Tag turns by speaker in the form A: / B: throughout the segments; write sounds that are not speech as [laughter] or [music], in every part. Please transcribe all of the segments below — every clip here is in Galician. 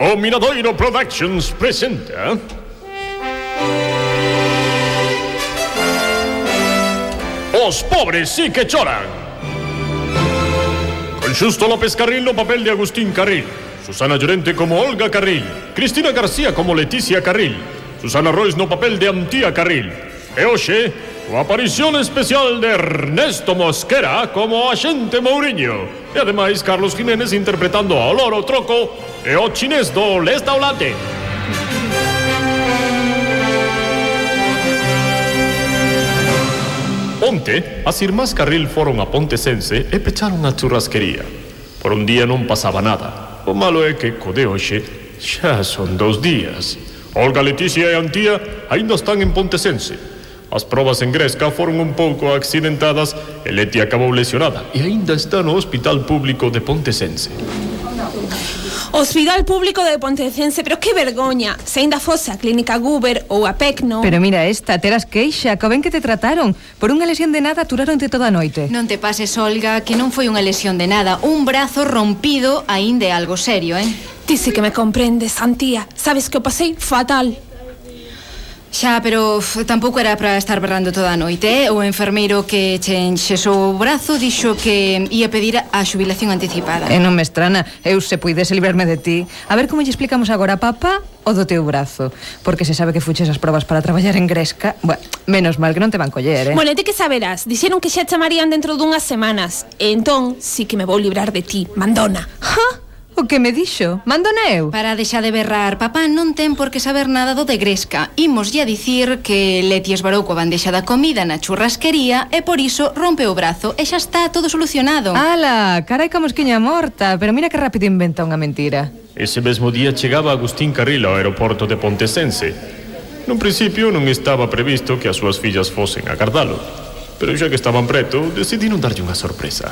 A: Ominadoiro Oh, Productions presenta. Os pobres sí que choran. Con Justo López Carril, o papel de Agustín Carril. Susana Llorente como Olga Carril. Cristina García como Leticia Carril. Susana Royce no papel de Antía Carril. E hoxe, o aparición especial de Ernesto Mosquera como Axente Mourinho. E ademais Carlos Jiménez interpretando a Oloro Troco e o chinés do restaurante. Onte, as irmás Carril foron a Pontesense e pecharon a churrasquería. Por un día non pasaba nada. O malo é que co de hoxe xa son dous días. Olga Leticia e Antía aínda están en Pontesense. As probas en Gresca foron un pouco accidentadas e Leti acabou lesionada e aínda está no Hospital Público de Pontesense.
B: Hospital Público de Pontecense, pero que vergoña. Se ainda fose a Clínica Guber ou a E Pecno.
C: Pero mira esta, teras queixa, co ben que te trataron Por unha lesión de nada aturáronte toda a noite
D: Non te pases, Olga, que non foi unha lesión de nada Un brazo rompido aínde é algo serio, eh?
B: Ti sí que me comprendes, Santía. Sabes que o pasei fatal.
D: Xa, pero uf, tampouco era para estar berrando toda a noite, eh? O enfermeiro que che enxesou o brazo dixo que ia pedir a xubilación anticipada.
C: E non me estrana, eu se puidese librarme de ti A ver como lle explicamos agora a papá o do teu brazo Porque se sabe que fuches as probas para traballar en Gresca Bueno, menos mal que non te van coller, eh?
B: Bueno, e ti que saberás. Dixeron que xa chamarían dentro dunhas semanas. E entón, sí que me vou librar de ti, mandona.
C: Ja, o que me dixo, mandona eu
D: Para deixar de berrar, papá non ten por que saber nada do de Gresca. Imos a dicir que Leti esbarou coa bandexa da comida na churrasquería e por iso rompe o brazo e xa está todo solucionado.
C: Ala, carai ca mosquiña morta Pero mira que rápido inventa unha mentira
A: Ese mesmo día chegaba Agustín Carril ao aeroporto de Pontesense. Nun principio non estaba previsto que as súas fillas fosen a agardalo, pero xa que estaban preto, decidiron darlle unha sorpresa.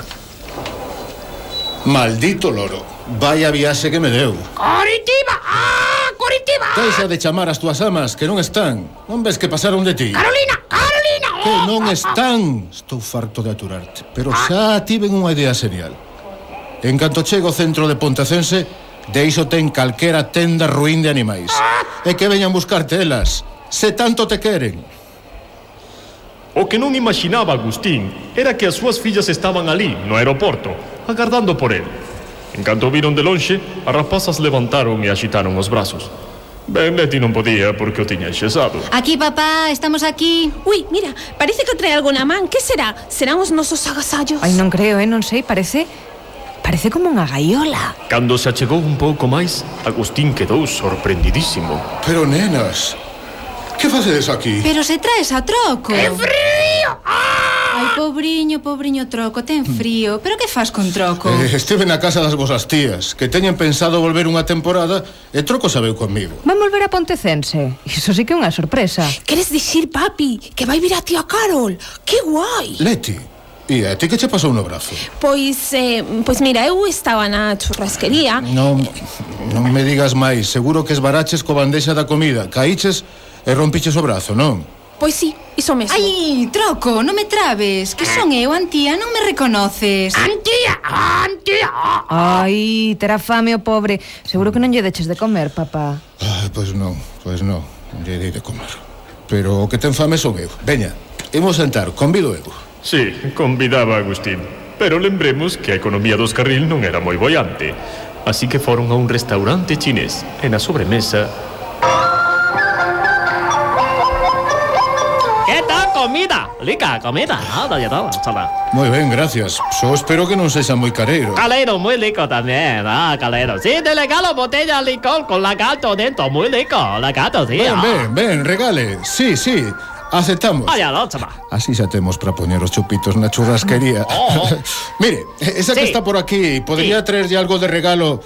E: Maldito loro, vai a viaxe que me deu
F: Coritiba! ¡Ah! ¡Coritiba!
E: Deixa de chamar as túas amas que non están Non ves que pasaron de ti
F: ¡Carolina! ¡Carolina!
E: Que non están Estou farto de aturarte Pero xa tiven unha idea serial En canto chego ao centro de Pontacense Deixo ten calquera tenda ruín de animais E que veñan buscarte elas Se tanto te queren
A: O que non imaginaba Agustín era que as súas fillas estaban ali, no aeroporto, agardando por él. En canto o viron de lonxe, as rapazas levantaron e agitaron os brazos. Ben, Leti non podía porque o tiña enxesado.
D: Aquí, papá, estamos aquí.
B: Ui, mira, parece que trae algo na man. Que será? Serán os nosos agasallos?
C: Ai, non creo, eh, non sei, parece... Parece como unha gaiola
A: Cando se achegou un pouco máis, Agustín quedou sorprendidísimo.
E: Pero nenas, que facedes aquí?
D: Pero se traes a troco.
F: ¡Qué frío! ¡Ah!
D: Ai, pobriño, pobriño troco, ten frío. Pero que fas con troco?
E: Eh, estive na casa das vosas tías Que teñen pensado volver unha temporada E troco sabeu comigo
C: Van volver a Pontecense Iso sí que é unha sorpresa
B: Queres dicir, papi, que vai vir a tía Carol? Que guai!
E: Leti, e a ti que che pasou no brazo?
B: Pois, eh, pois mira, eu estaba na churrasquería
E: Non, non me digas máis Seguro que esbaraches co bandexa da comida Caíches e rompiches o brazo, non?
B: Pois sí, iso mesmo
D: Ai, troco, non me trabes. Que son eu, antía, non me reconoces.
F: Ah. ¡Antía! ¡Antía! ¡Ah!
C: Ai, terá fame o pobre Seguro que non lle deches de comer, papá
E: Ah, pois non, pois non Lle dei de comer Pero o que ten fame son eu Veña, imos sentar, convido eu
A: Sí, convidaba a Agustín. Pero lembremos que a economía dos carril non era moi boiante. Así que foron a un restaurante chinés e na sobremesa...
G: ¿Qué tal comida? Rica comida, nada ya todo, chala.
E: Moi ben, gracias Só espero que non sexa moi careiro
G: Calero muy rico también, ah, calero. Sí, te regalo botella de licor con lagarto dentro, muy rico, lagarto, sí.
E: Ben,
G: ah.
E: ben, ben, regale Sí, sí, aceptamos
G: Ay, ya no, chala.
E: Así xa temos para poñer os chupitos na churrasquería
G: [laughs] Oh.
E: [laughs] Mire, esa que
G: Sí.
E: está por aquí Podería
G: Sí.
E: traerlle algo de regalo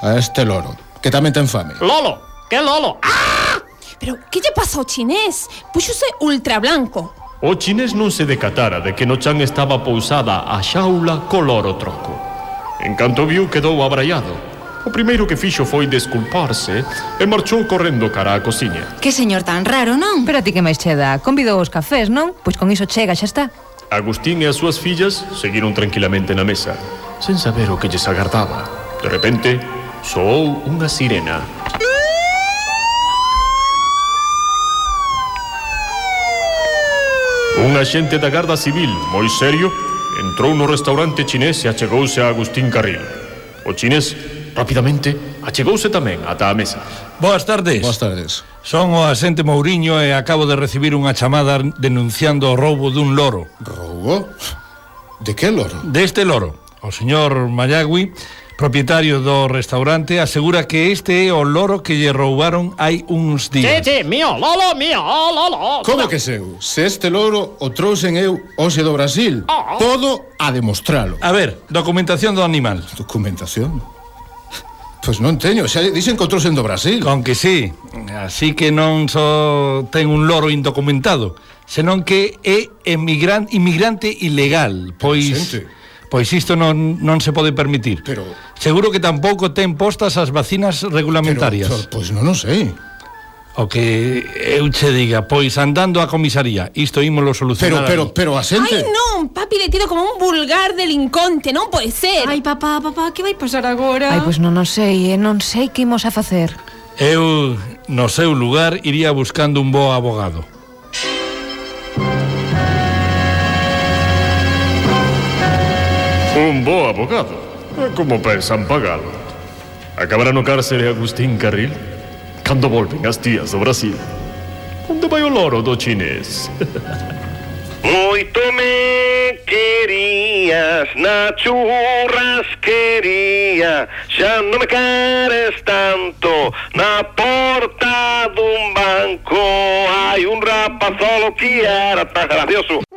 E: A este loro Que tamén ten fame
G: Lolo, ¿qué Lolo? Ah,
B: Pero que lle pasa ao chinés? Puxose ultra blanco
A: O chinés non se decatara de que no chan estaba pousada a xaula color o troco. En canto viu quedou abraiado. O primeiro que fixo foi desculparse e marchou correndo cara á cociña.
D: Que señor tan raro, non?
C: Pero a ti que máis che dá? Convidou os cafés, non? Pois con iso chega, xa está
A: Agustín e as súas fillas seguiron tranquilamente na mesa, sen saber o que lles agardaba. De repente, Soou unha sirena. Un axente da Garda Civil, moi serio, entrou no restaurante chinés e achegouse a Agustín Carril. O chinés, rapidamente, achegouse tamén ata a mesa.
H: Boas tardes.
E: Boas tardes.
H: Son o asente Mouriño e acabo de recibir unha chamada denunciando o roubo dun loro.
E: Roubo? De que loro?
H: Deste loro, o señor Mayagui, propietario do restaurante, asegura que este é o loro que lle roubaron hai uns
G: Sí,
H: días.
G: sí, mío, Lolo, mío, oh, Lolo.
E: Como que seu? Se este loro o trouxen eu hoxe do Brasil,
G: Oh,
E: podo a demostralo.
H: A ver, documentación do animal.
E: Documentación? Pois non teño, xa lle dixen que o trouxen do Brasil.
H: Con que sí, así que non só ten un loro indocumentado, senón que é emigran, inmigrante ilegal, pois...
E: Xente.
H: Pois isto non, non se pode permitir.
E: Pero-
H: Seguro que tampouco ten postas as vacinas regulamentarias.
E: Pero, pues Pois non o sei.
H: O que eu che diga, pois andando á comisaría, isto ímolo
E: Pero,
H: solucionar.
E: pero, pero a
B: Ai,
E: xente...
B: non, papi detido como un vulgar delinconte, non pode ser.
D: Ai, papá, papá, que vai pasar agora?
C: Ai, pois non o sei, eh? non sei que imos a facer.
H: Eu, no seu lugar, iría buscando un bo abogado.
A: Un bo abogado. E como pensan pagalo? Acabará no cárcere Agustín Carril? Cando volven as tías do Brasil? Onde vai o loro do chinés?
I: Moito me querías na churrasquería Xa non me queres tanto Na porta dun banco Hai un rapazolo que era tan gracioso